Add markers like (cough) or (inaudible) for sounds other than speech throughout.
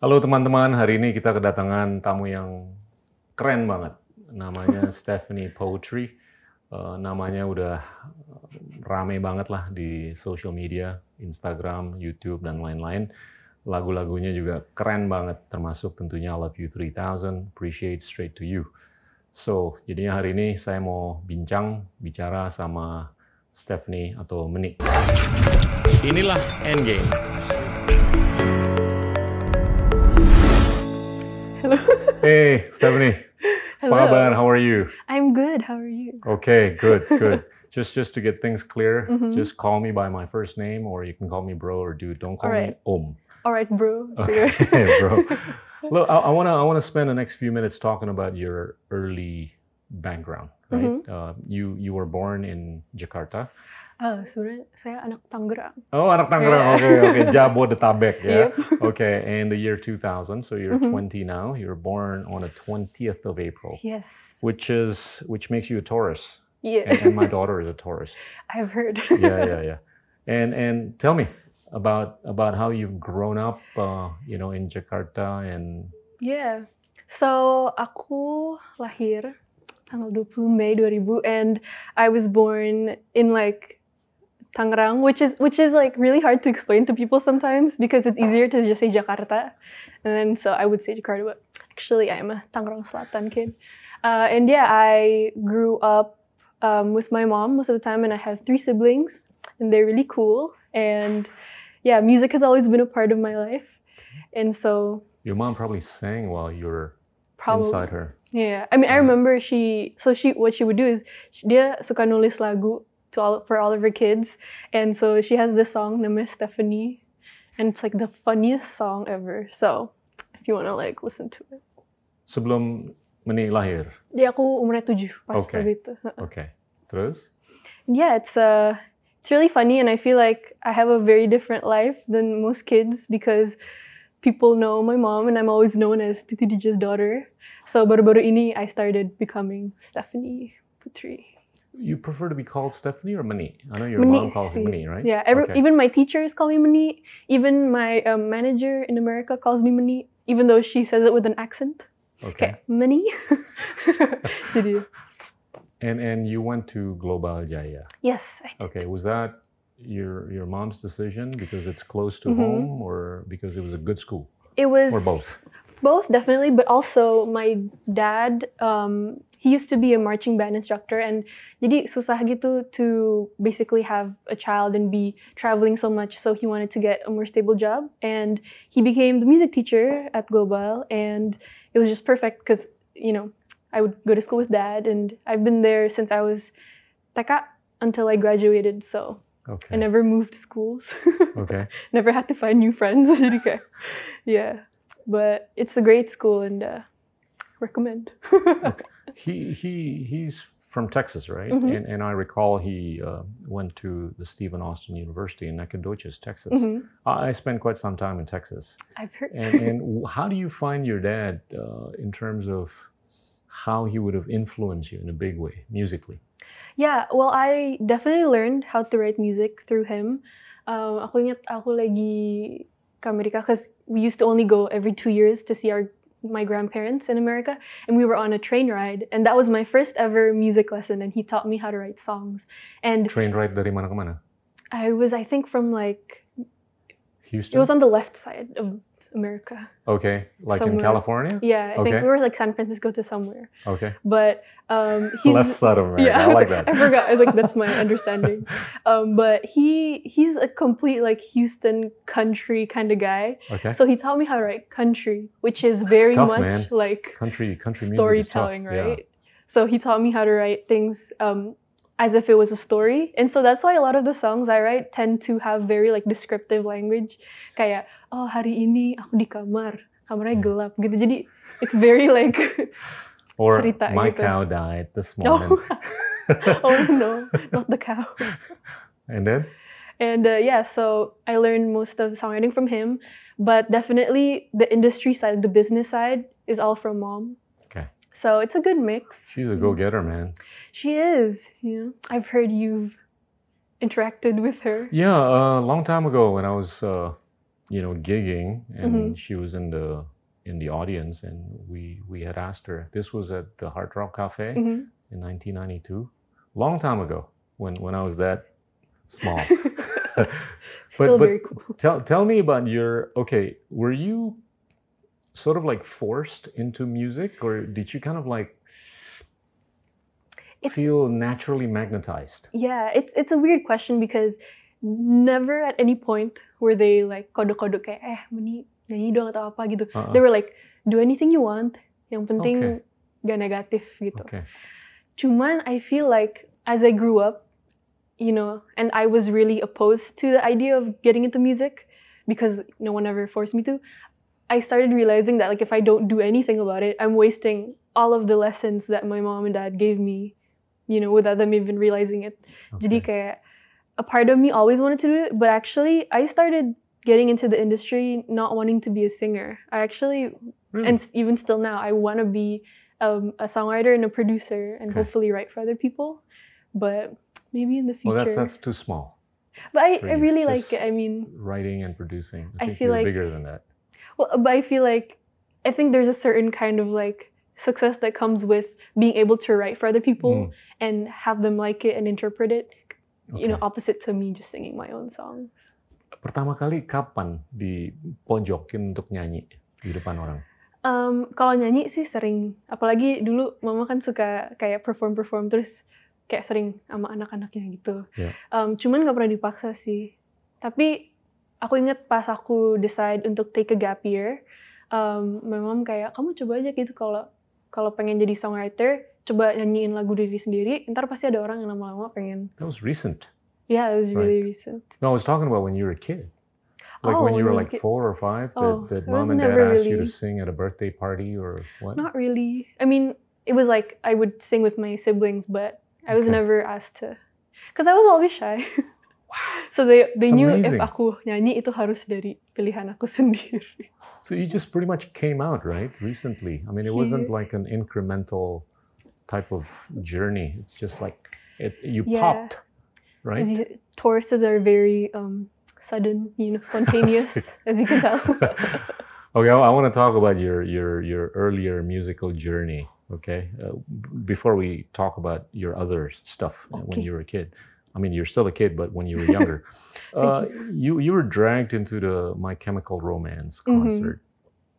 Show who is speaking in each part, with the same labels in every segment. Speaker 1: Halo teman-teman, hari ini kita kedatangan tamu yang keren banget. (laughs) Namanya Stephanie Poetry. Eh, namanya udah rame banget lah di social media, Instagram, YouTube, dan lain-lain. Lagu-lagunya juga keren banget, termasuk tentunya I Love You 3000, Appreciate Straight to You. So, jadinya hari ini saya mau bincang, bicara sama Stephanie atau Meni. Inilah Endgame.
Speaker 2: Hello. (laughs)
Speaker 1: Hey, Stephanie.
Speaker 2: Hello.
Speaker 1: Apa kabar? How are you?
Speaker 2: I'm good. How are you?
Speaker 1: Okay, good,
Speaker 2: (laughs)
Speaker 1: good. just just to get things clear,
Speaker 2: Mhm.
Speaker 1: just call me by my first name, or you can call me bro or dude. Don't call
Speaker 2: Alright.
Speaker 1: me om.
Speaker 2: All right, (laughs) bro.
Speaker 1: (laughs) Oh. Okay,
Speaker 2: (laughs)
Speaker 1: bro. Look, I, I wanna I wanna spend the next few minutes talking about your early background. Right?
Speaker 2: Mm-hmm.
Speaker 1: Uh, you you were born in Jakarta.
Speaker 2: Ah, sebenarnya saya anak Tangerang.
Speaker 1: Oh, anak Tangerang. (laughs) Okay,
Speaker 2: Yeah.
Speaker 1: okay.
Speaker 2: (laughs)
Speaker 1: Jabodetabek. Yeah.
Speaker 2: Yep.
Speaker 1: Okay, and the year 2000. So you're
Speaker 2: Mhm.
Speaker 1: 20 now. You were born on the 20th of April,
Speaker 2: Yes.
Speaker 1: which is which makes you a Taurus.
Speaker 2: Yeah.
Speaker 1: And, and my daughter is a Taurus.
Speaker 2: (laughs) I've heard.
Speaker 1: yeah, yeah, yeah. And and tell me about about how you've grown up, uh, you know, in Jakarta and
Speaker 2: Yeah. So, aku lahir tanggal 20 Mei 2000 and I was born in like Tangerang, which is which is like really hard to explain to people sometimes because it's easier to just say Jakarta. And then so I would say Jakarta, but actually I'm a Tangerang Selatan kid. Uh, and yeah, I grew up um, with my mom most of the time and I have three siblings and they're really cool and yeah, music has always been a part of my life. And so
Speaker 1: your mom probably sang while you were
Speaker 2: probably
Speaker 1: inside her.
Speaker 2: Yeah, I mean, I
Speaker 1: Hmm.
Speaker 2: remember she. So she, what she would do is sh- dia suka nulis lagu to all for all of her kids, and so she has this song namanya Stephanie, and it's like the funniest song ever. So if you wanna like listen to it.
Speaker 1: Sebelum Meni lahir.
Speaker 2: Yeah, aku umurnya tujuh pas
Speaker 1: Okay.
Speaker 2: lagu itu.
Speaker 1: Okay. Terus?
Speaker 2: Yeah, it's uh, it's really funny, and I feel like I have a very different life than most kids because people know my mom, and I'm always known as Titi Dija's daughter. So baru-baru ini I started becoming Stephanie Putri.
Speaker 1: You prefer to be called Stephanie or Meni? I know your
Speaker 2: Meni
Speaker 1: mom calls you
Speaker 2: sih.
Speaker 1: Meni, right?
Speaker 2: Yeah, every,
Speaker 1: Okay.
Speaker 2: even my teachers call me Mani. Even my um, manager in America calls me Mani, even though she says it with an accent.
Speaker 1: Okay.
Speaker 2: Okay, Mani. (laughs) Jadi,
Speaker 1: And and you went to Global Jaya.
Speaker 2: yes, I
Speaker 1: Okay. Was that your your mom's decision because it's close to
Speaker 2: Mhm.
Speaker 1: home or because it was a good school
Speaker 2: it was
Speaker 1: or both?
Speaker 2: both definitely, but also my dad. Um, he used to be a marching band instructor, and jadi susah gitu to basically have a child and be traveling so much. So he wanted to get a more stable job, and he became the music teacher at Global, and it was just perfect because you know I would go to school with dad, and I've been there since I was TK until I graduated. So
Speaker 1: Okay.
Speaker 2: I never moved schools.
Speaker 1: okay.
Speaker 2: never had to find new friends. (laughs) Jadi kayak, yeah, but it's a great school and uh, recommend. (laughs)
Speaker 1: he he he's from Texas, right?
Speaker 2: Mhm.
Speaker 1: And and I recall he uh, went to the Stephen Austin University in Nacogdoches, Texas.
Speaker 2: Mhm.
Speaker 1: I, I spent quite some time in Texas.
Speaker 2: I've heard. (laughs)
Speaker 1: And and w- how do you find your dad uh, in terms of how he would have influenced you in a big way musically?
Speaker 2: Yeah, well, I definitely learned how to write music through him. Um, aku ingat aku lagi ke Amerika because we used to only go every two years to see our my grandparents in America, and we were on a train ride, and that was my first ever music lesson, and he taught me how to write songs. And
Speaker 1: Train ride dari mana ke mana?
Speaker 2: I was, I think, from like it
Speaker 1: Houston.
Speaker 2: was on the left side of America.
Speaker 1: okay, like in
Speaker 2: somewhere.
Speaker 1: California.
Speaker 2: Yeah, I
Speaker 1: Okay.
Speaker 2: think we were like San Francisco to somewhere.
Speaker 1: Okay,
Speaker 2: But
Speaker 1: (laughs)
Speaker 2: um, (laughs) he's
Speaker 1: left side of America.
Speaker 2: yeah,
Speaker 1: I
Speaker 2: was
Speaker 1: like that.
Speaker 2: I forgot. I like that's
Speaker 1: (laughs)
Speaker 2: my understanding. Um, but he he's a complete like Houston country kind of guy.
Speaker 1: Okay,
Speaker 2: So he taught me how to write country, which is very
Speaker 1: tough,
Speaker 2: much
Speaker 1: man.
Speaker 2: like
Speaker 1: country country music is tough.
Speaker 2: storytelling,
Speaker 1: Yeah.
Speaker 2: right? So he taught me how to write things um, as if it was a story, and so that's why a lot of the songs I write tend to have very like descriptive language. Kayak oh hari ini aku di kamar, kamarnya
Speaker 1: Yeah.
Speaker 2: gelap gitu. Jadi it's very
Speaker 1: (laughs)
Speaker 2: like
Speaker 1: Or
Speaker 2: cerita
Speaker 1: my
Speaker 2: gitu.
Speaker 1: cow died this morning.
Speaker 2: Oh. (laughs) oh no, not the cow.
Speaker 1: (laughs) And then
Speaker 2: And uh, yeah, so I learned most of songwriting from him, but definitely the industry side, the business side, is all from mom.
Speaker 1: Okay.
Speaker 2: So it's a good mix. Mm-hmm.
Speaker 1: she's a go-getter, man.
Speaker 2: She is. You know, I've heard you've interacted with her.
Speaker 1: Yeah, a long time ago when I was uh, you know, gigging, and
Speaker 2: Mm-hmm.
Speaker 1: she was in the in the audience, and we we had asked her. This was at the Hard Rock Cafe
Speaker 2: Mhm.
Speaker 1: in 1992, long time ago when when I was that
Speaker 2: (laughs)
Speaker 1: small. (laughs)
Speaker 2: Still
Speaker 1: but-
Speaker 2: very cool.
Speaker 1: tell tell me about your okay. Were you sort of like forced into music, or did you kind of like
Speaker 2: It's-
Speaker 1: feel naturally magnetized?
Speaker 2: Yeah, it's it's a weird question because never at any point were they like kode-kode kayak eh meni nyanyi dong atau apa gitu.
Speaker 1: Uh-uh.
Speaker 2: They were like do anything you want, yang
Speaker 1: Okay.
Speaker 2: penting gak negatif gitu.
Speaker 1: Okay.
Speaker 2: Cuman I feel like as I grew up, you know, and I was really opposed to the idea of getting into music because no one ever forced me to. I started realizing that like if I don't do anything about it, I'm wasting all of the lessons that my mom and dad gave me, you know, without them even realizing it. Jadi
Speaker 1: okay.
Speaker 2: kayak a part of me always wanted to do it, but actually I started getting into the industry not wanting to be a singer. I actually
Speaker 1: Really?
Speaker 2: and s- even still now i want to be um, a songwriter and a producer and
Speaker 1: Okay.
Speaker 2: hopefully write for other people but maybe in the future
Speaker 1: well, that's that's too small.
Speaker 2: but i,
Speaker 1: for you,
Speaker 2: I really
Speaker 1: just-
Speaker 2: like it i mean
Speaker 1: Writing and producing. I,
Speaker 2: I
Speaker 1: think
Speaker 2: feel
Speaker 1: you're
Speaker 2: like-
Speaker 1: bigger than that.
Speaker 2: well uh, but i feel like i think there's a certain kind of like success that comes with being able to write for other people
Speaker 1: Mm,
Speaker 2: and have them like it and interpret it you know
Speaker 1: okay.
Speaker 2: opposite to me just singing my own songs
Speaker 1: Pertama kali kapan dipojokin untuk nyanyi di depan orang?
Speaker 2: Um, kalau nyanyi sih sering, apalagi dulu mama kan suka kayak perform perform terus kayak sering sama anak-anaknya gitu.
Speaker 1: Iya.
Speaker 2: Um, cuman nggak pernah dipaksa sih. Tapi aku inget pas aku decide untuk take a gap year, um, my mom kayak kamu coba aja gitu kalau kalau pengen jadi songwriter, coba nyanyiin lagu diri sendiri. Ntar pasti ada orang yang lama-lama pengen.
Speaker 1: That was recent.
Speaker 2: Yeah, it was really recent.
Speaker 1: No, I was talking about when you were a kid. Like
Speaker 2: Oh,
Speaker 1: when you
Speaker 2: when I
Speaker 1: were
Speaker 2: was
Speaker 1: like
Speaker 2: a kid.
Speaker 1: four or five,
Speaker 2: Oh,
Speaker 1: that, that
Speaker 2: I
Speaker 1: mom
Speaker 2: was
Speaker 1: and dad
Speaker 2: never
Speaker 1: asked you to
Speaker 2: really-
Speaker 1: sing at a birthday party or what?
Speaker 2: Not really. I mean, it was like I would sing with my siblings, but I was
Speaker 1: Okay.
Speaker 2: never asked to, because I was always shy. (laughs) So they they
Speaker 1: It's
Speaker 2: knew if
Speaker 1: amazing.
Speaker 2: aku nyanyi itu harus dari pilihan aku (laughs) sendiri.
Speaker 1: So you just pretty much came out, right? Recently. I mean, it wasn't like an incremental type of journey. It's just like it, you
Speaker 2: Yeah.
Speaker 1: popped, right?
Speaker 2: 'Cause you- Tauruses are very um, sudden, you know, spontaneous,
Speaker 1: (laughs)
Speaker 2: as you can tell.
Speaker 1: okay, I, want to talk about your your your earlier musical journey. Okay, uh, b- before we talk about your other stuff uh, when
Speaker 2: Okay.
Speaker 1: you were a kid. I mean, you're still a kid, but when
Speaker 2: (laughs)
Speaker 1: you were younger, uh, you you were dragged into the My Chemical Romance
Speaker 2: Mhm.
Speaker 1: concert,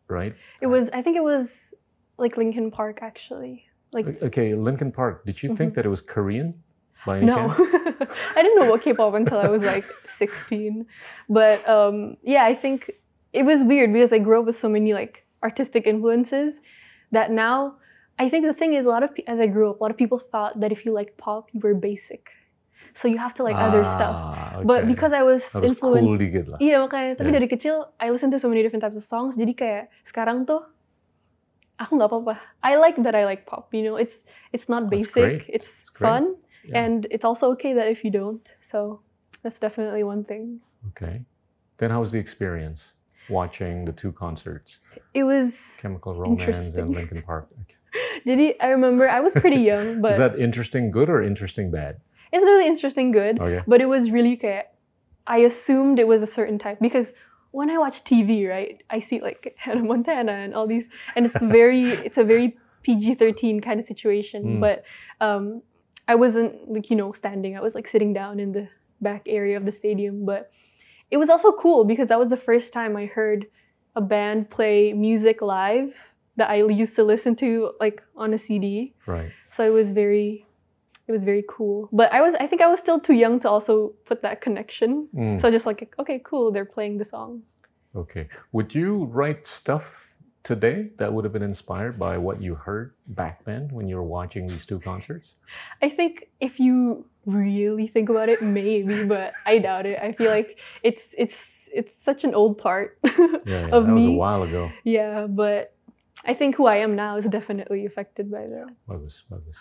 Speaker 1: right?
Speaker 2: It was, I think it was like Linkin Park actually. Like
Speaker 1: O-
Speaker 2: Mm-hmm.
Speaker 1: Okay, Lincoln Park. Did you think that it was Korean by any
Speaker 2: No,
Speaker 1: chance?
Speaker 2: (laughs) I didn't know what K-pop until I was like 16. But um, yeah, I think it was weird because I grew up with so many like artistic influences that now I think the thing is a lot of pe- as I grew up, a lot of people thought that if you liked pop, you were basic. So you have to like other stuff.
Speaker 1: Ah,
Speaker 2: But
Speaker 1: okay.
Speaker 2: because I was
Speaker 1: Harus cool
Speaker 2: influenced,
Speaker 1: dikit lah.
Speaker 2: iya makanya. Tapi
Speaker 1: Yeah.
Speaker 2: dari kecil I listen to so many different types of songs. Jadi kayak sekarang tuh aku nggak apa-apa. I like that I like pop. You know, it's it's not
Speaker 1: That's
Speaker 2: basic.
Speaker 1: great.
Speaker 2: It's
Speaker 1: That's great.
Speaker 2: fun.
Speaker 1: Yeah.
Speaker 2: And it's also okay that if you don't. So that's definitely one thing.
Speaker 1: Okay. Then how was the experience watching the two concerts?
Speaker 2: It was
Speaker 1: Chemical Romance and
Speaker 2: Interesting.
Speaker 1: Linkin
Speaker 2: (laughs)
Speaker 1: Park. Okay.
Speaker 2: Did I remember I was pretty young, but
Speaker 1: (laughs) Is that interesting good or interesting
Speaker 2: (laughs)
Speaker 1: bad? Oh,
Speaker 2: it's really interesting good.
Speaker 1: Okay.
Speaker 2: But it was really okay. I assumed it was a certain type because when I watch TV, right, I see like (laughs) Hannah Montana and all these and it's very (laughs) it's a very PG thirteen kind of
Speaker 1: Mm.
Speaker 2: situation. But um I wasn't like, you know, standing. I was like sitting down in the back area of the stadium. But it was also cool because that was the first time I heard a band play music live that I used to listen to like on a CD.
Speaker 1: Right.
Speaker 2: So it was very it was very cool. But I was I think I was still too young to also put that connection.
Speaker 1: Mm,
Speaker 2: So just like okay, cool, they're playing the song.
Speaker 1: Okay. Would you write stuff today that would have been inspired by what you heard back then when you were watching these two concerts?
Speaker 2: I think if you really think about it, maybe, (laughs) but I doubt it. I feel like it's it's it's such an old part. (laughs)
Speaker 1: Yeah, yeah,
Speaker 2: Of
Speaker 1: that was a
Speaker 2: me?
Speaker 1: while ago.
Speaker 2: yeah, but I think who I am now is definitely affected by that.
Speaker 1: Bagus, bagus.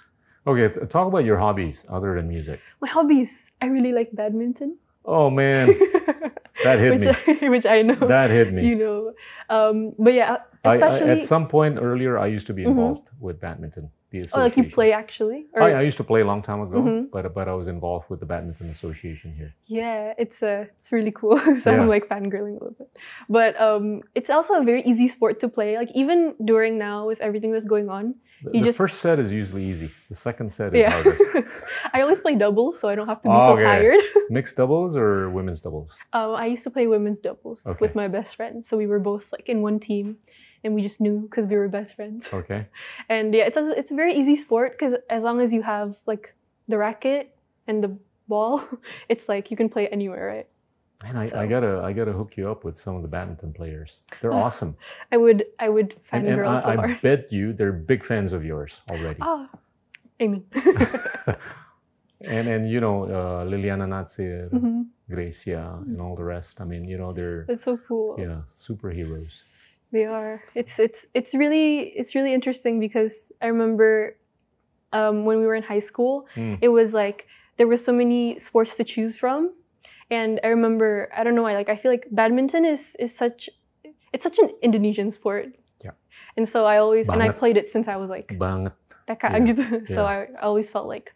Speaker 1: Okay, t- talk about your hobbies other than music.
Speaker 2: My hobbies. I really like badminton.
Speaker 1: Oh
Speaker 2: (laughs)
Speaker 1: man, that hit
Speaker 2: which
Speaker 1: me.
Speaker 2: I, (laughs) which I know.
Speaker 1: That hit me.
Speaker 2: (laughs) You know. Um, but yeah,
Speaker 1: I, I,
Speaker 2: especially
Speaker 1: at some point earlier, I used to be
Speaker 2: Mhm.
Speaker 1: involved with badminton. the
Speaker 2: Oh, like
Speaker 1: association.
Speaker 2: you play actually?
Speaker 1: Oh, yeah, I used to play a long time ago,
Speaker 2: Mhm.
Speaker 1: but but I was involved with the badminton association here.
Speaker 2: Yeah, it's uh, it's really cool. (laughs) so
Speaker 1: Yeah.
Speaker 2: I'm like fangirling a little bit. But um, it's also a very easy sport to play. Like even during now with everything that's going on,
Speaker 1: The,
Speaker 2: You
Speaker 1: the
Speaker 2: just-
Speaker 1: first set is usually easy. The second set is
Speaker 2: yeah. (laughs)
Speaker 1: harder. Oh,
Speaker 2: I always play doubles, so I don't have to be so
Speaker 1: Okay.
Speaker 2: tired.
Speaker 1: Mixed doubles or women's doubles?
Speaker 2: Um, I used to play women's doubles
Speaker 1: Okay.
Speaker 2: with my best friend, so we were both like in one team, and we just knew because we were best friends.
Speaker 1: Okay.
Speaker 2: And yeah, it's a, it's a very easy sport because as long as you have like the racket and the ball, (laughs) it's like you can play anywhere, right?
Speaker 1: Man, I, I
Speaker 2: So-
Speaker 1: gotta I gotta hook you up with some of the badminton players. They're
Speaker 2: Ah,
Speaker 1: awesome,
Speaker 2: I would I would
Speaker 1: and,
Speaker 2: fangirl
Speaker 1: and I,
Speaker 2: so hard.
Speaker 1: I bet you they're big fans of yours already.
Speaker 2: Ah, amen.
Speaker 1: (laughs) And and you know uh, Liliana Natsir,
Speaker 2: hmm
Speaker 1: Gracia, and all the rest. I mean, you know they're
Speaker 2: That's so cool.
Speaker 1: yeah superheroes.
Speaker 2: They are. It's it's it's really it's really interesting because I remember um, when we were in high school,
Speaker 1: Mm.
Speaker 2: it was like there were so many sports to choose from, and I remember I don't know I like I feel like badminton is is such it's such an Indonesian sport.
Speaker 1: Yeah.
Speaker 2: And so I always and I've
Speaker 1: Banget.
Speaker 2: played it since I was like
Speaker 1: Banget.
Speaker 2: TK
Speaker 1: Yeah.
Speaker 2: gitu. (laughs) So
Speaker 1: Yeah.
Speaker 2: I always felt like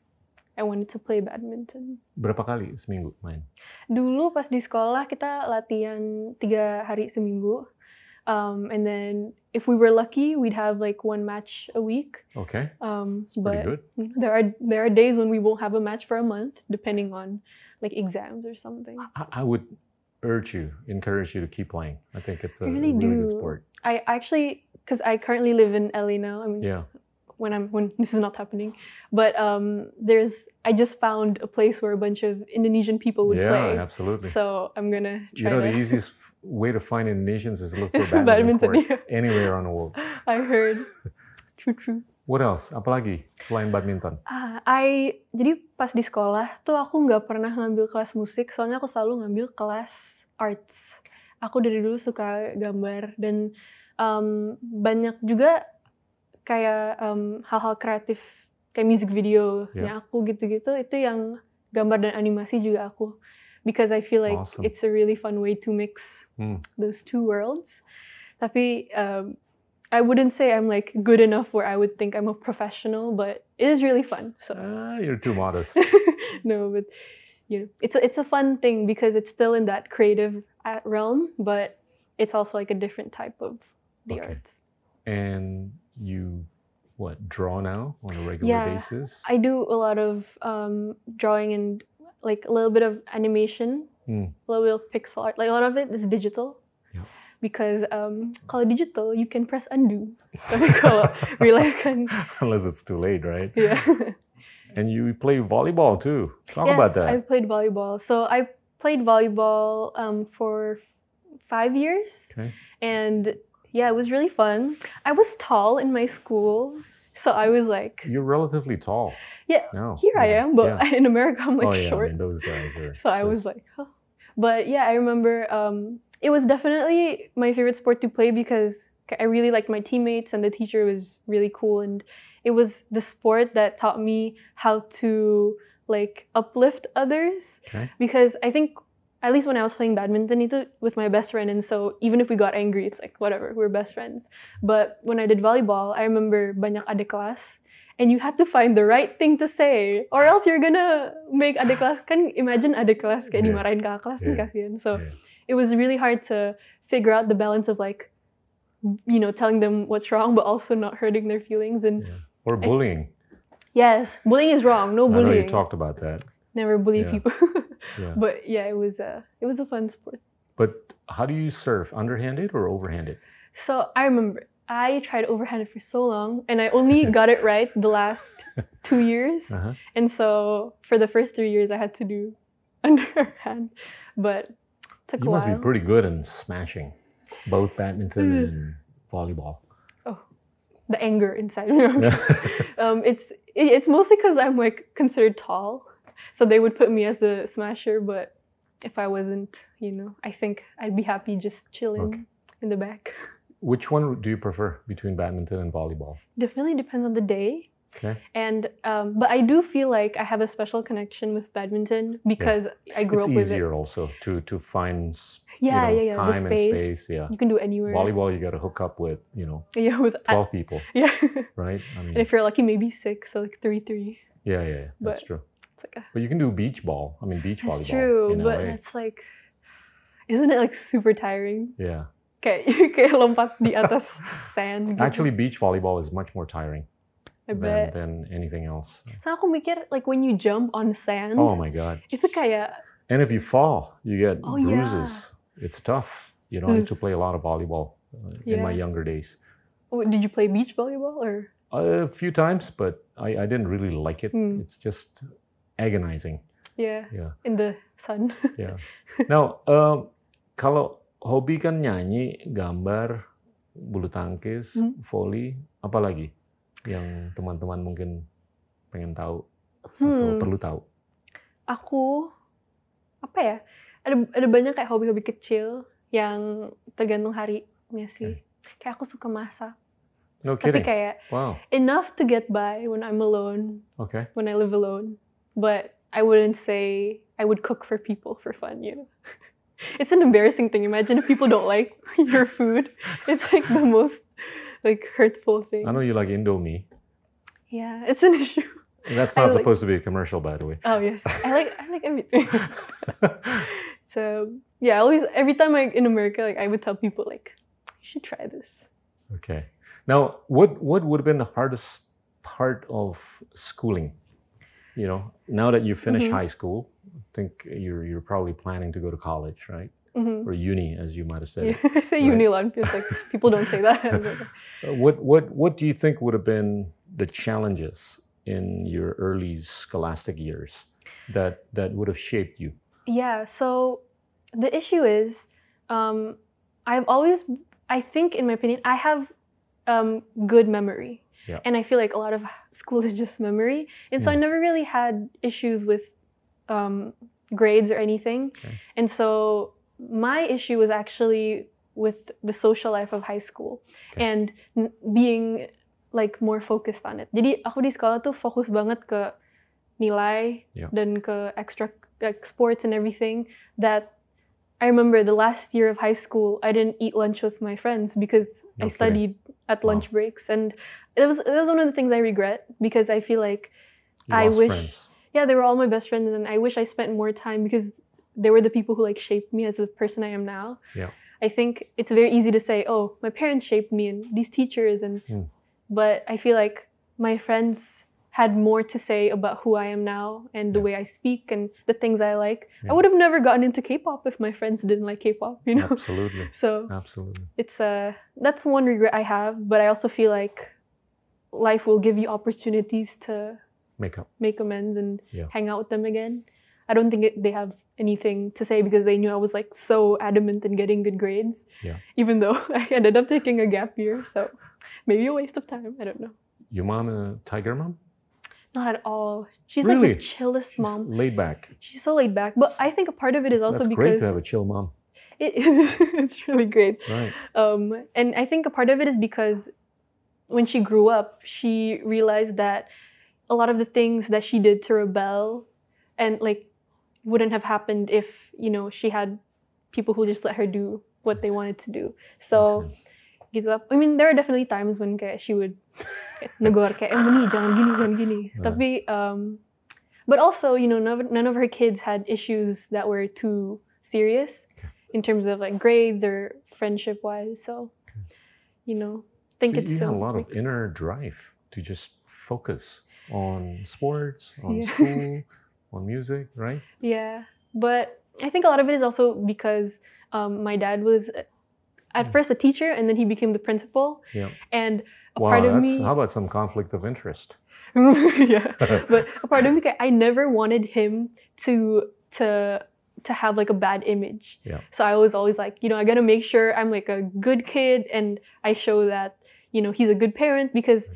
Speaker 2: I wanted to play badminton.
Speaker 1: Berapa kali seminggu main?
Speaker 2: dulu pas di sekolah kita latihan tiga hari seminggu um, and then if we were lucky we'd have like one match a week
Speaker 1: Okay,
Speaker 2: um,
Speaker 1: it's pretty good.
Speaker 2: there are there are days when we won't have a match for a month depending on like exams or something
Speaker 1: I, I would urge you, encourage you to keep playing. I think it's a
Speaker 2: I really
Speaker 1: really good
Speaker 2: do.
Speaker 1: sport.
Speaker 2: I actually because I currently live in LA now I mean
Speaker 1: Yeah.
Speaker 2: when I'm when (laughs) this is not happening but um, there's I just found a place where a bunch of Indonesian people would
Speaker 1: Yeah,
Speaker 2: play
Speaker 1: absolutely.
Speaker 2: so I'm gonna
Speaker 1: you
Speaker 2: try
Speaker 1: know, the
Speaker 2: to
Speaker 1: easiest f- way to find Indonesians is
Speaker 2: (laughs)
Speaker 1: look for badminton, court
Speaker 2: yeah.
Speaker 1: anywhere around the world.
Speaker 2: I
Speaker 1: (laughs)
Speaker 2: heard. True, true.
Speaker 1: What else? Apalagi selain badminton?
Speaker 2: Ah, I jadi pas di sekolah tuh aku nggak pernah ngambil kelas musik, soalnya aku selalu ngambil kelas arts. Aku dari dulu suka gambar dan um, banyak juga kayak um, hal-hal kreatif kayak music video
Speaker 1: Yeah.
Speaker 2: aku gitu-gitu itu yang gambar dan animasi juga aku because I feel like
Speaker 1: Awesome.
Speaker 2: it's a really fun way to mix
Speaker 1: Hmm.
Speaker 2: those two worlds. Tapi um, I wouldn't say I'm like good enough where I would think I'm a professional, but it is really fun. So
Speaker 1: Ah, you're too modest.
Speaker 2: (laughs) no, but you know, it's a, it's a fun thing because it's still in that creative uh, realm, but it's also like a different type of the
Speaker 1: Okay.
Speaker 2: arts.
Speaker 1: and you, what, draw now on a regular
Speaker 2: Yeah,
Speaker 1: basis?
Speaker 2: I do a lot of um, drawing and like a little bit of animation,
Speaker 1: Hmm.
Speaker 2: a little bit of pixel art. Like a lot of it is digital.
Speaker 1: Yeah.
Speaker 2: Because um, kalau digital you can press undo. (laughs) Tapi kalau real life kan,
Speaker 1: (laughs) Unless it's too late, right?
Speaker 2: yeah.
Speaker 1: And you play volleyball too. Talk
Speaker 2: yes,
Speaker 1: about that.
Speaker 2: I played volleyball. So I played volleyball um, for f- five years,
Speaker 1: Okay.
Speaker 2: and yeah, it was really fun. I was tall in my school, so I was like,
Speaker 1: You're relatively tall.
Speaker 2: Yeah,
Speaker 1: No,
Speaker 2: here I am, but
Speaker 1: yeah.
Speaker 2: (laughs) in America I'm like
Speaker 1: oh, yeah,
Speaker 2: short.
Speaker 1: I mean, those guys are.
Speaker 2: So I was like, huh. But yeah, I remember um, it was definitely my favorite sport to play because I really liked my teammates and the teacher was really cool. And it was the sport that taught me how to like uplift others
Speaker 1: Okay.
Speaker 2: because I think. At least when I was playing badminton itu with my best friend, and so even if we got angry, it's like whatever, we're best friends. But when I did volleyball, I remember banyak adik kelas, and you had to find the right thing to say or else you're gonna make adik kelas kan imagine adik kelas kayak
Speaker 1: Yeah.
Speaker 2: dimarahin kakak kelas kan
Speaker 1: Yeah.
Speaker 2: kasihan so
Speaker 1: Yeah.
Speaker 2: it was really hard to figure out the balance of like you know telling them what's wrong but also not hurting their feelings and
Speaker 1: Yeah. Or bullying.
Speaker 2: yes bullying is wrong no
Speaker 1: I know you
Speaker 2: Oh, bullying
Speaker 1: talked about that.
Speaker 2: never bully
Speaker 1: Yeah.
Speaker 2: people (laughs)
Speaker 1: Yeah.
Speaker 2: but yeah it was a it was a fun sport
Speaker 1: But how do you serve? Underhanded or overhanded?
Speaker 2: So I remember I tried overhanded for so long, and I
Speaker 1: (laughs)
Speaker 2: only got it right the last two years.
Speaker 1: Uh-huh.
Speaker 2: And so for the first three years, I had to do (laughs) underhand, but it took
Speaker 1: You
Speaker 2: a
Speaker 1: must be
Speaker 2: while.
Speaker 1: pretty good in smashing both badminton and volleyball. (laughs)
Speaker 2: the anger inside me. (laughs) um, it's it, it's mostly because I'm like considered tall, so they would put me as the smasher. But if I wasn't, you know, I think I'd be happy just chilling
Speaker 1: Okay.
Speaker 2: in the back.
Speaker 1: Which one do you prefer between badminton and volleyball?
Speaker 2: Definitely depends on the day.
Speaker 1: Okay.
Speaker 2: And um, but I do feel like I have a special connection with badminton because I grew
Speaker 1: It's
Speaker 2: up with
Speaker 1: easier also to to find s- you
Speaker 2: it. Yeah,
Speaker 1: know,
Speaker 2: yeah, yeah.
Speaker 1: time
Speaker 2: the
Speaker 1: and
Speaker 2: space.
Speaker 1: space. Yeah.
Speaker 2: You can do anywhere.
Speaker 1: Volleyball, you got to hook up with you know
Speaker 2: (laughs) Yeah, with
Speaker 1: twelve people,
Speaker 2: (laughs) yeah.
Speaker 1: right? I mean,
Speaker 2: and if you're lucky, maybe six, so like three, three.
Speaker 1: yeah, yeah, yeah, that's
Speaker 2: but
Speaker 1: true.
Speaker 2: It's like a,
Speaker 1: But you can do beach ball. I mean, beach volleyball.
Speaker 2: it's true,
Speaker 1: in
Speaker 2: but
Speaker 1: LA.
Speaker 2: it's like, isn't it like super tiring? (laughs)
Speaker 1: yeah.
Speaker 2: Kayak kayak lompat di
Speaker 1: (laughs)
Speaker 2: atas sand. Gitu.
Speaker 1: Actually, beach volleyball is much more tiring
Speaker 2: I
Speaker 1: than,
Speaker 2: bet.
Speaker 1: than anything else.
Speaker 2: So aku mikir like when you jump on sand,
Speaker 1: Oh my god!
Speaker 2: itu kayak
Speaker 1: And if you fall, you get
Speaker 2: Oh, yeah.
Speaker 1: bruises. It's tough. You know, I used to play a lot of volleyball uh, in my
Speaker 2: Yeah.
Speaker 1: younger days.
Speaker 2: oh, did you play beach volleyball or?
Speaker 1: A few times, but I, I didn't really like it.
Speaker 2: Hmm.
Speaker 1: It's just agonizing. (laughs)
Speaker 2: Yeah.
Speaker 1: Yeah.
Speaker 2: In the sun.
Speaker 1: Ya. Now, um, kalau hobi kan nyanyi, gambar, bulu tangkis,
Speaker 2: Hmm.
Speaker 1: voli, apa lagi yang teman-teman mungkin pengen tahu atau
Speaker 2: Hmm.
Speaker 1: perlu tahu?
Speaker 2: Aku apa ya? Ada ada banyak kayak hobi-hobi kecil yang tergantung harinya sih. Kayak aku suka masak,
Speaker 1: No
Speaker 2: tapi
Speaker 1: kidding.
Speaker 2: kayak
Speaker 1: Wow.
Speaker 2: enough to get by when I'm alone,
Speaker 1: Okay.
Speaker 2: when I live alone. But I wouldn't say I would cook for people for fun, you know. (laughs) It's an embarrassing thing. Imagine if people don't like (laughs) your food. It's like the most like hurtful thing.
Speaker 1: I know you like Indomie.
Speaker 2: Yeah, it's an issue.
Speaker 1: That's
Speaker 2: I
Speaker 1: not
Speaker 2: like-
Speaker 1: supposed to be a commercial, by the way.
Speaker 2: Oh yes, I like I like everything. (laughs) so yeah, I always every time I in America, like I would tell people like, you should try this.
Speaker 1: okay. Now, what what would have been the hardest part of schooling? You know, now that you finished
Speaker 2: Mhm.
Speaker 1: high school, I think you're you're probably planning to go to college, right?
Speaker 2: Mhm.
Speaker 1: Or uni, as you might have said.
Speaker 2: Yeah, (laughs) I say
Speaker 1: Mm-hmm. Right.
Speaker 2: uni a lot. Feels like people don't say that. But
Speaker 1: Uh, What what what do you think would have been the challenges in your early scholastic years that that would have shaped you?
Speaker 2: yeah. So the issue is, um, I've always, I think, in my opinion, I have um, good memory,
Speaker 1: Yeah. Mm.
Speaker 2: and I feel like a lot of (laughs) school is just memory, and so I never really had issues with um, grades or anything.
Speaker 1: Okay.
Speaker 2: And so my issue was actually with the social life of high school
Speaker 1: Okay.
Speaker 2: and n- being like more focused on it. Jadi aku di sekolah tuh fokus banget ke nilai
Speaker 1: Yeah.
Speaker 2: dan ke extra like sports and everything that I remember the last year of high school I didn't eat lunch with my friends because
Speaker 1: No kidding.
Speaker 2: I studied at
Speaker 1: Wow.
Speaker 2: lunch breaks and that was that was one of the things I regret because I feel like
Speaker 1: You
Speaker 2: I
Speaker 1: lost
Speaker 2: wish-
Speaker 1: friends.
Speaker 2: yeah, they were all my best friends, and I wish I spent more time because they were the people who like shaped me as the person I am now.
Speaker 1: Yeah.
Speaker 2: I think it's very easy to say, "Oh, my parents shaped me, and these teachers," and
Speaker 1: Mm.
Speaker 2: but I feel like my friends had more to say about who I am now and the
Speaker 1: Yeah.
Speaker 2: way I speak and the things I like.
Speaker 1: Yeah.
Speaker 2: I would have never gotten into K-pop if my friends didn't like K-pop, (laughs) you know. (laughs)
Speaker 1: Absolutely.
Speaker 2: So
Speaker 1: Absolutely.
Speaker 2: it's a that's one regret I have, but I also feel like life will give you opportunities to
Speaker 1: Make up.
Speaker 2: make amends and
Speaker 1: Yeah.
Speaker 2: hang out with them again. I don't think it, they have anything to say because they knew I was like so adamant in getting good grades.
Speaker 1: Yeah.
Speaker 2: Even though (laughs) I ended up taking a gap year, so maybe a waste of time. I don't know.
Speaker 1: Your mom a tiger mom?
Speaker 2: Not at all. She's
Speaker 1: Really?
Speaker 2: like the chillest
Speaker 1: She's
Speaker 2: mom.
Speaker 1: laid back.
Speaker 2: She's so laid back, but I think a part of it is also
Speaker 1: That's great
Speaker 2: because
Speaker 1: to have a chill mom.
Speaker 2: it (laughs) is it's really great.
Speaker 1: Right.
Speaker 2: Um, and I think a part of it is because when she grew up, she realized that a lot of the things that she did to rebel and like wouldn't have happened if you know she had people who just let her do what they
Speaker 1: Makes-
Speaker 2: wanted to do. So
Speaker 1: Makes sense.
Speaker 2: gitu lah. I mean, there are definitely times when kayak she
Speaker 1: (laughs)
Speaker 2: would kayak negor kayak "Eh, Muni, jangan gini, jangan gini.
Speaker 1: Right.
Speaker 2: Tapi um, but also, you know, none of, none of her kids had issues that were too serious
Speaker 1: Okay.
Speaker 2: in terms of like grades or friendship wise. So, you know, I think
Speaker 1: So
Speaker 2: it's
Speaker 1: you had
Speaker 2: still
Speaker 1: a lot of
Speaker 2: mixed.
Speaker 1: inner drive to just focus on sports, on
Speaker 2: (laughs) Yeah.
Speaker 1: school, on music, right?
Speaker 2: Yeah, but I think a lot of it is also because um, my dad was uh, at first a teacher and then he became the principal.
Speaker 1: Mm. Yeah.
Speaker 2: And (laughs) a
Speaker 1: wow,
Speaker 2: part of
Speaker 1: that's
Speaker 2: me,
Speaker 1: how about some conflict of
Speaker 2: (laughs)
Speaker 1: interest? (laughs)
Speaker 2: yeah. but a part of me I never wanted him to to to have like a bad image.
Speaker 1: Yeah.
Speaker 2: So I was always like, you know, I gotta make sure I'm like a good kid and I show that, you know, he's a good parent because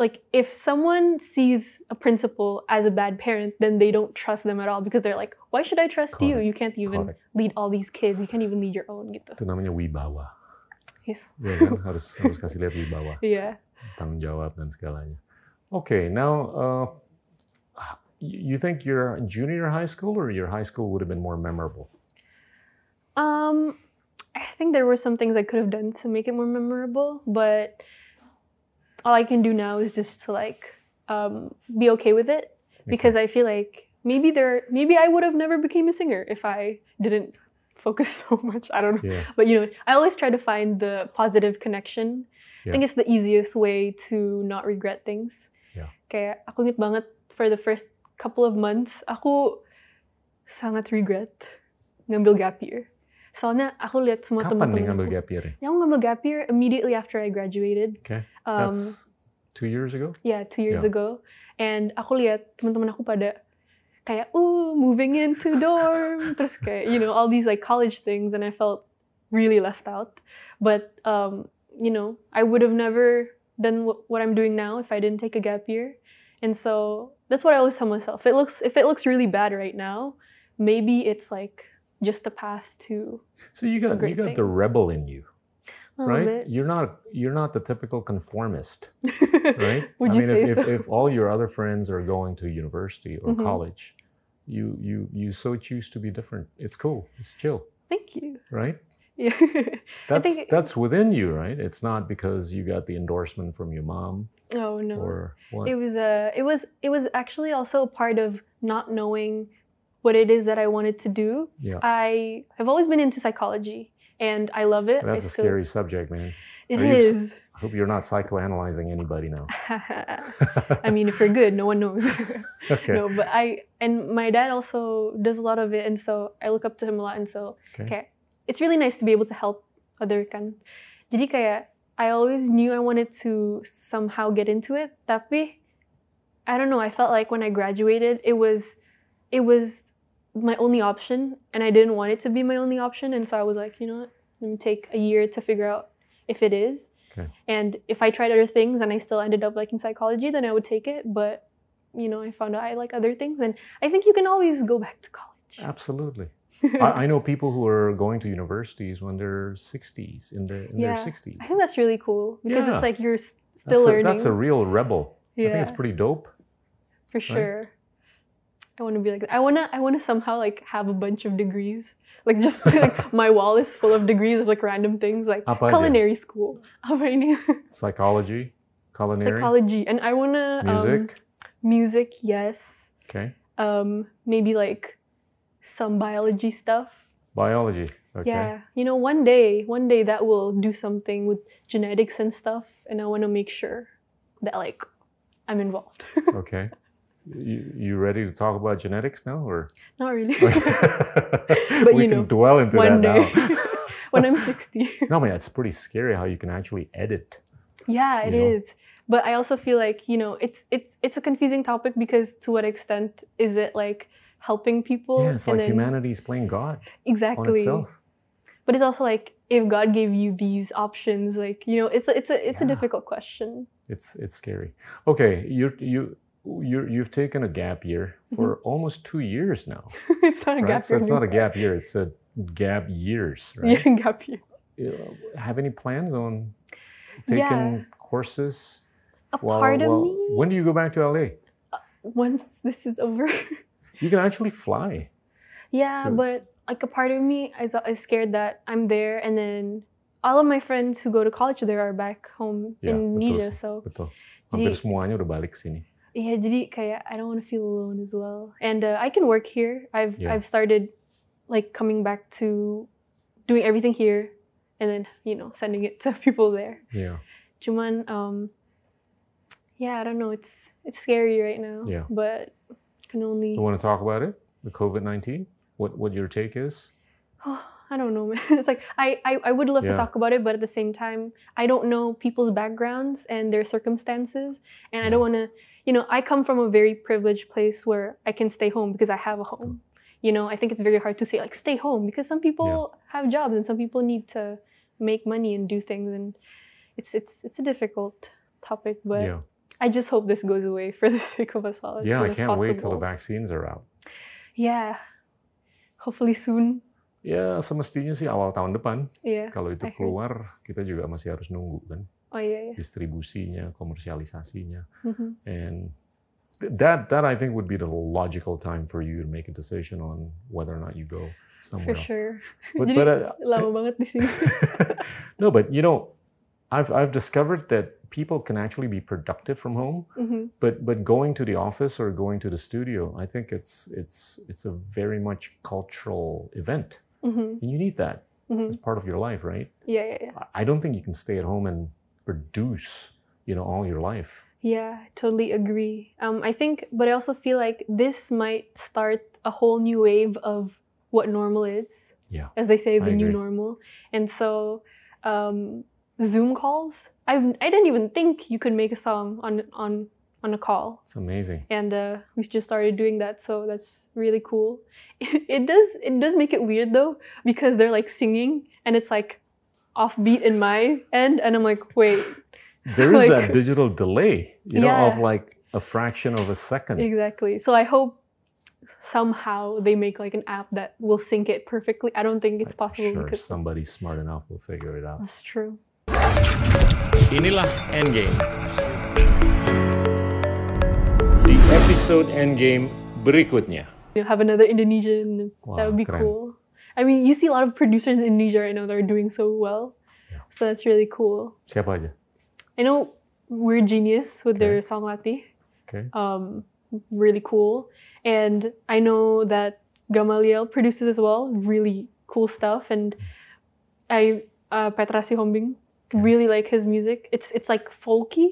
Speaker 2: like if someone sees a principal as a bad parent, then they don't trust them at all because they're like, Why should I trust you?
Speaker 1: Correct.
Speaker 2: You can't even
Speaker 1: Correct.
Speaker 2: lead all these kids, you can't even lead your own gitu.
Speaker 1: Itu namanya wibawa.
Speaker 2: Yes. (laughs)
Speaker 1: Ya kan? harus harus kasih lihat wibawa,
Speaker 2: Yeah.
Speaker 1: tanggung jawab dan segalanya. Okay, now uh, you you think your junior high school or your high school would have been more
Speaker 2: (laughs)
Speaker 1: memorable?
Speaker 2: Um, I think there were some things I could have done to make it more memorable, but all I can do now is just to like um, be okay with it because I feel like maybe there maybe I would have never became a singer if I didn't focus (laughs) so much. I don't know.
Speaker 1: Yeah,
Speaker 2: But you know, I always try to find the positive connection. I think it's the easiest way to not regret things.
Speaker 1: Yeah.
Speaker 2: Kayak aku inget banget for the first couple of months, aku sangat regret ngambil gap year. Soalnya aku lihat semua
Speaker 1: kapan nih
Speaker 2: teman-teman.
Speaker 1: ngambil
Speaker 2: aku-
Speaker 1: gap year?
Speaker 2: Ya, Aku ngambil gap year immediately after I graduated.
Speaker 1: Okay,
Speaker 2: Um,
Speaker 1: that's two years ago.
Speaker 2: Yeah, two years
Speaker 1: Yeah.
Speaker 2: ago. And aku lihat teman-teman aku pada kayak, oh, moving into
Speaker 1: (laughs)
Speaker 2: dorm, terus kayak, you know, all these like college things, and I felt really left out. But um, you know, I would have never done wh- what I'm doing now if I didn't take a gap year. And so that's what I always tell myself. It looks if it looks really bad right now, maybe it's like just a path to
Speaker 1: So you got you
Speaker 2: Great
Speaker 1: got the rebel in you,
Speaker 2: a little
Speaker 1: right?
Speaker 2: bit.
Speaker 1: You're not you're not the typical conformist, right?
Speaker 2: (laughs) Would
Speaker 1: I
Speaker 2: you
Speaker 1: mean,
Speaker 2: say
Speaker 1: if,
Speaker 2: so?
Speaker 1: if, if all your other friends are going to university or
Speaker 2: Mhm.
Speaker 1: college, you you you so choose to be different. It's cool. It's chill,
Speaker 2: Thank you. (laughs)
Speaker 1: right?
Speaker 2: Yeah.
Speaker 1: That's
Speaker 2: think-
Speaker 1: that's within you, right? It's not because you got the endorsement from your mom
Speaker 2: oh no.
Speaker 1: or what.
Speaker 2: It was a. It was. It was actually also a part of not knowing what it is that I wanted to do.
Speaker 1: yeah,
Speaker 2: I have always been into psychology, and I love it.
Speaker 1: that's a
Speaker 2: I still-
Speaker 1: scary subject, man.
Speaker 2: It
Speaker 1: Are you ex-
Speaker 2: is. (laughs)
Speaker 1: I hope you're not psychoanalyzing anybody now.
Speaker 2: I mean, if you're good, no one knows.
Speaker 1: (laughs) okay.
Speaker 2: no, but I and my dad also does a lot of it, and so I look up to him a lot, and so
Speaker 1: Okay.
Speaker 2: okay. it's really nice to be able to help other kan. Jadi kayak I always knew I wanted to somehow get into it, tapi I don't know. I felt like when I graduated, it was it was my only option, and I didn't want it to be my only option, and so I was like, you know what, let me take a year to figure out if it is.
Speaker 1: Okay.
Speaker 2: And if I tried other things and I still ended up liking psychology, then I would take it. But you know, I found out I like other things, and I think you can always go back to college. (laughs)
Speaker 1: Absolutely. (laughs) I, I know people who are going to universities when they're 60s, in, the, in
Speaker 2: Yeah.
Speaker 1: their 60s.
Speaker 2: I think that's really cool because
Speaker 1: Yeah.
Speaker 2: it's like you're s- still
Speaker 1: That's a,
Speaker 2: learning.
Speaker 1: that's a real rebel. I
Speaker 2: yeah,
Speaker 1: think it's pretty dope.
Speaker 2: for sure. I want to be like that. I wanna I wanna somehow like have a bunch of degrees. Like just
Speaker 1: (laughs)
Speaker 2: (laughs) like my wall is full of degrees of like random things like
Speaker 1: Apa aja?
Speaker 2: culinary school, (laughs) apa ini?
Speaker 1: Psychology, culinary,
Speaker 2: psychology, and I wanna Um,
Speaker 1: music.
Speaker 2: music, yes.
Speaker 1: okay.
Speaker 2: Um, maybe like some biology stuff.
Speaker 1: Biology. Okay.
Speaker 2: Yeah, you know, one day, one day that will do something with genetics and stuff, and I want to make sure that like I'm involved.
Speaker 1: (laughs) Okay. You, you ready to talk about genetics now,
Speaker 2: (laughs)
Speaker 1: or (laughs)
Speaker 2: Not really.
Speaker 1: we
Speaker 2: you
Speaker 1: can
Speaker 2: know,
Speaker 1: dwell into
Speaker 2: one
Speaker 1: that
Speaker 2: day,
Speaker 1: now?
Speaker 2: (laughs)
Speaker 1: (laughs)
Speaker 2: when I'm 60.
Speaker 1: No, man, it's pretty scary how you can actually edit.
Speaker 2: yeah, it is.
Speaker 1: You know?
Speaker 2: But I also feel like you know, it's it's it's a confusing topic because to what extent is it like helping people?
Speaker 1: yeah, it's like humanity is playing God
Speaker 2: exactly.
Speaker 1: on itself.
Speaker 2: But it's also like if God gave you these options, like you know, it's a, it's a it's a
Speaker 1: Yeah.
Speaker 2: difficult question. (laughs)
Speaker 1: It's it's scary. Okay, you you you you've taken a gap year for almost two years now,
Speaker 2: it's not Mm-hmm. a
Speaker 1: right?
Speaker 2: gap
Speaker 1: so
Speaker 2: year.
Speaker 1: it's not a gap year; it's a gap years, right?
Speaker 2: (laughs) Yeah, gap year.
Speaker 1: you know, have any plans on taking
Speaker 2: Yeah.
Speaker 1: courses?
Speaker 2: A
Speaker 1: while-
Speaker 2: part of
Speaker 1: while-
Speaker 2: me
Speaker 1: When do you go back to LA?
Speaker 2: once this is over. (laughs)
Speaker 1: You can actually fly.
Speaker 2: yeah,
Speaker 1: True.
Speaker 2: but like a part of me is, is scared that I'm there and then all of my friends who go to college there are back home
Speaker 1: Yeah,
Speaker 2: in
Speaker 1: betul
Speaker 2: Indonesia.
Speaker 1: sih.
Speaker 2: So
Speaker 1: Betul.
Speaker 2: Jadi-
Speaker 1: Hampir semuanya udah balik sini.
Speaker 2: yeah, jadi kayak I don't want to feel alone as well. And uh, I can work here. I've
Speaker 1: Yeah.
Speaker 2: I've started like coming back to doing everything here and then you know sending it (laughs) to people there.
Speaker 1: Yeah.
Speaker 2: Cuman um, yeah, I don't know. It's it's scary right now.
Speaker 1: Yeah.
Speaker 2: But can only
Speaker 1: You want to talk about it? The COVID nineteen. What what your take is?
Speaker 2: Oh, (sighs) I don't know, man. (laughs) It's like I, I, I would love to
Speaker 1: Yeah.
Speaker 2: talk about it, but at the same time, I don't know people's backgrounds and their circumstances, and I don't want to, you know, I come from a very privileged place where I can stay home because I have a home. You know, I think it's very hard to say like stay home because some people have jobs and some people need to make money and do things, and it's it's it's a difficult topic, but
Speaker 1: yeah.
Speaker 2: I just hope this goes away for the (laughs) sake of us all. as
Speaker 1: Yeah, I
Speaker 2: soon as
Speaker 1: can't wait till the
Speaker 2: possible.
Speaker 1: vaccines are out.
Speaker 2: Yeah, hopefully soon.
Speaker 1: Ya, semestinya sih awal tahun depan.
Speaker 2: Yeah.
Speaker 1: Kalau itu
Speaker 2: I heard.
Speaker 1: keluar, kita juga masih harus nunggu kan.
Speaker 2: Oh iya iya.
Speaker 1: distribusinya, komersialisasinya.
Speaker 2: Mhm.
Speaker 1: And th- that that I think would be the logical time for you to make a decision on whether or not you go
Speaker 2: For
Speaker 1: somewhere. else.
Speaker 2: sure.
Speaker 1: (laughs) But,
Speaker 2: Jadi
Speaker 1: but uh,
Speaker 2: lama banget di sini. (laughs)
Speaker 1: (laughs) no, but you know, I've I've discovered that people can actually be productive from home,
Speaker 2: Mhm.
Speaker 1: but but going to the office or going to the studio, I think it's it's it's a very much cultural event,
Speaker 2: Mhm.
Speaker 1: and you need that
Speaker 2: Mhm.
Speaker 1: as part of your life, right?
Speaker 2: Iya iya iya.
Speaker 1: I- I don't think you can stay at home and produce, you know, all your life.
Speaker 2: Yeah, totally agree. Um, I think, but I also feel like this might start a whole new wave of what normal is.
Speaker 1: Yeah.
Speaker 2: As they say,
Speaker 1: I
Speaker 2: the new
Speaker 1: agree.
Speaker 2: normal. And so, um, Zoom calls. I I didn't even think you could make a song on on on a call,
Speaker 1: It's amazing.
Speaker 2: and uh, we've just started doing that. So that's really cool. (laughs) It, does it does make it weird though because they're like singing and it's like offbeat in my end, and I'm like, wait,
Speaker 1: (laughs) There is
Speaker 2: Like-
Speaker 1: that digital delay, you know, of
Speaker 2: Yeah.
Speaker 1: like a fraction of a second.
Speaker 2: Exactly. So I hope somehow they make like an app that will sync it perfectly. I don't think it's
Speaker 1: I'm
Speaker 2: possible
Speaker 1: Sure,
Speaker 2: because
Speaker 1: somebody smart enough will figure it out.
Speaker 2: that's true.
Speaker 1: Inilah Endgame. Di episode Endgame berikutnya.
Speaker 2: You know, have another Indonesian. that
Speaker 1: Wow,
Speaker 2: would be
Speaker 1: keren.
Speaker 2: cool. I mean, you see a lot of producers in Indonesia right now that are doing so well. So that's really cool.
Speaker 1: Siapa aja?
Speaker 2: I know Weird Genius with their song Lati.
Speaker 1: Okay.
Speaker 2: Um, really cool. And I know that Gamaliel produces as well. Really cool stuff. And I uh, Petra Sihombing really like his music. It's it's like folky,